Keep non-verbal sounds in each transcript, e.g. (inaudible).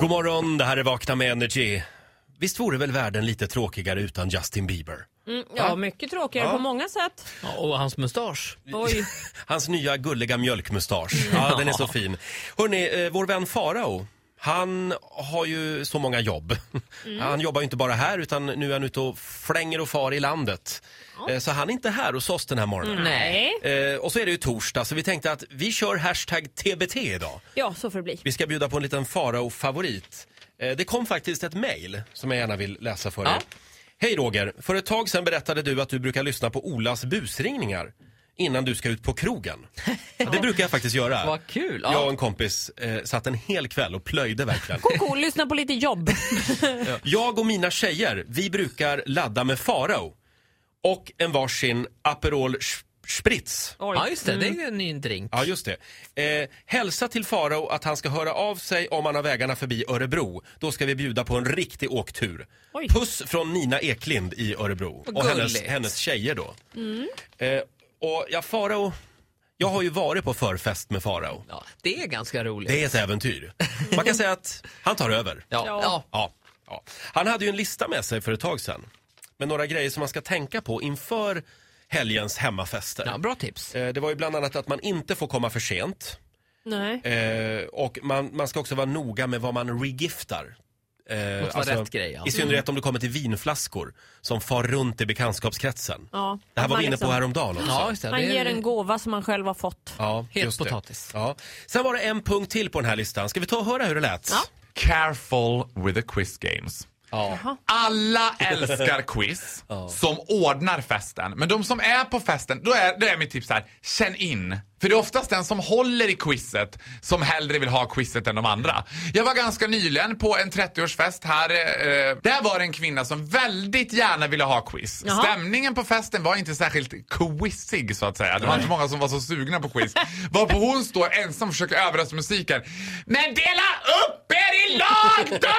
God morgon, det här är Vakna med Energy. Visst vore väl världen lite tråkigare utan Justin Bieber? Mm, ja, mycket tråkigare på många sätt. Ja, och hans mustasch. Oj. Hans nya gulliga mjölkmustasch. Ja, den är så fin. Hörrni, eh, vår vän Farao. Han har ju så många jobb. Han jobbar ju inte bara här utan nu är han ute och flänger och far i landet. Eh, Så han är inte här hos oss den här morgonen. (laughs) Mm, Nej. Eh, och så är det ju torsdag så vi tänkte att vi kör hashtag TBT idag. Ja, så får det bli. Vi ska bjuda på en liten Farao-favorit. Eh, Det kom faktiskt ett mejl som jag gärna vill läsa för er. Hej Roger! För ett tag sedan berättade du att du brukar lyssna på Olas busringningar innan du ska ut på (laughs) krogen. Det brukar jag faktiskt göra. Vad kul! Jag och Ja. en kompis eh, satt en hel kväll och plöjde verkligen. Koko, lyssna på lite jobb. Jag och mina tjejer, vi brukar ladda med Farao och en varsin Aperol Sch- Spritz. Oj. ja, just det. Det är ju en ny drink. Ja, just det. Eh, hälsa till Farao att han ska höra av sig om han har vägarna förbi Örebro. Då ska vi bjuda på en riktig åktur. Oj. Puss från Nina Eklind i Örebro. Vad Och hennes, gulligt. Mm. hennes tjejer då. Eh, och ja, Farao... Jag har ju varit på förfest med Farao. Ja, det är ganska roligt. Det är ett äventyr. Man kan säga att han tar över. Ja. Ja. Ja. Ja, ja. Han hade ju en lista med sig för ett tag sedan. Med några grejer som man ska tänka på inför helgens hemmafester. ja, bra tips. Eh, Det var ju bland annat att man inte får komma för sent. Nej. Eh, och man, man ska också vara noga med vad man regiftar. Eh, vara rätt grej, ja. I synnerhet om det kommer till vinflaskor som far runt i bekantskapskretsen. Ja, Det här att var man vi inne liksom- på häromdagen också. Ja, just det. Han det är- ger en gåva som man själv har fått. Ja, Het just det. potatis. Ja. Sen var det en punkt till på den här listan. Ska vi ta och höra hur det lät? Ja. Careful with the quiz games. Ja. Alla älskar quiz som ordnar festen. Men de som är på festen, då är, då är mitt tips här, känn in. För det är oftast den som håller i quizet som hellre vill ha quizet än de andra. Jag var ganska nyligen på en 30-årsfest här. Eh, där var det en kvinna som väldigt gärna ville ha quiz. Jaha. Stämningen på festen var inte särskilt quizig så att säga. Det var inte många som var så sugna på quiz. Varpå hon står ensam och försöker överrösta musiken. Men dela upp er i lag då!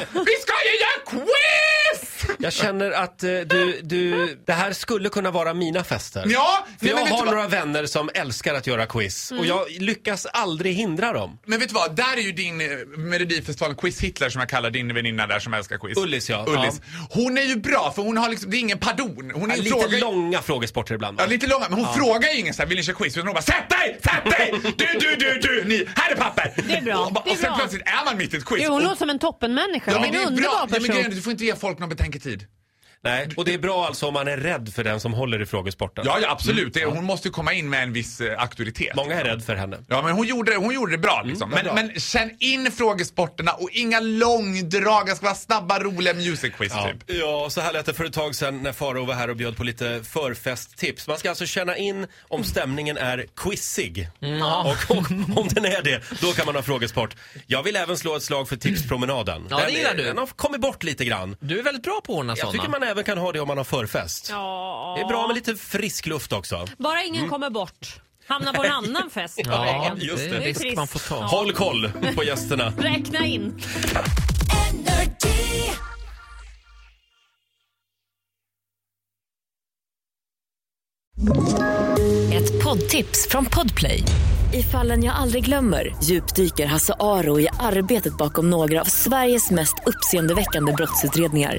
Vi ska ju göra quiz! Jag känner att eh, du, du, det här skulle kunna vara mina fester. Ja, För nej, jag men vet du har vad? några vänner som älskar att göra quiz Mm. och jag lyckas aldrig hindra dem. Men vet du vad, där är ju din eh, Melodifestivalen-quiz-Hitler som jag kallar din väninna där som älskar quiz. Ullis, ja. Ullis. Hon är ju bra för hon har liksom, det är ingen pardon. Hon är Lite frågar- långa frågesporter ibland. va? Ja, lite långa, men hon frågar ju ingen så här, vill ni köra quiz? Utan hon bara, sätt dig, sätt dig! Du, du, du, du, ni, här är papper! Det är bra, Och, bara- det är och sen bra. plötsligt är man mitt i ett quiz. Jo, hon Och- låter som en toppenmänniska. Ja, men det en är underbar bra. Ja, men grejen är, person. du får inte ge folk någon betänketid. Nej, och det är bra alltså om man är rädd för den som håller i frågesporten. Ja, ja absolut. Det, hon måste ju komma in med en viss eh, auktoritet. Många är rädd för henne. Ja, men hon gjorde det, hon gjorde det bra liksom. vad bra. Men, men känn in frågesporterna och inga långdrag. Det ska vara snabba, roliga music quiz Ja. typ. ja, så här lät det för ett tag sedan när Faro var här och bjöd på lite förfesttips. Man ska alltså känna in om stämningen är quizig. Mm, Och, och om den är det, då kan man ha frågesport. Jag vill även slå ett slag för tipspromenaden. Ja, det Den är- gillar du. Den har kommit bort lite grann. Du är väldigt bra på att ordna Jag tycker sådana. man även kan ha det om man har förfest. Ja. Det är bra med lite frisk luft också. Bara ingen kommer bort. Hamnar på en annan fest på vägen. just det det. är en Det är risk trist. man får ta. Håll koll på gästerna. Räkna in. Energy. Ett poddtips från Podplay. I fallen jag aldrig glömmer djupdyker Hasse Aro i arbetet bakom några av Sveriges mest uppseendeväckande brottsutredningar.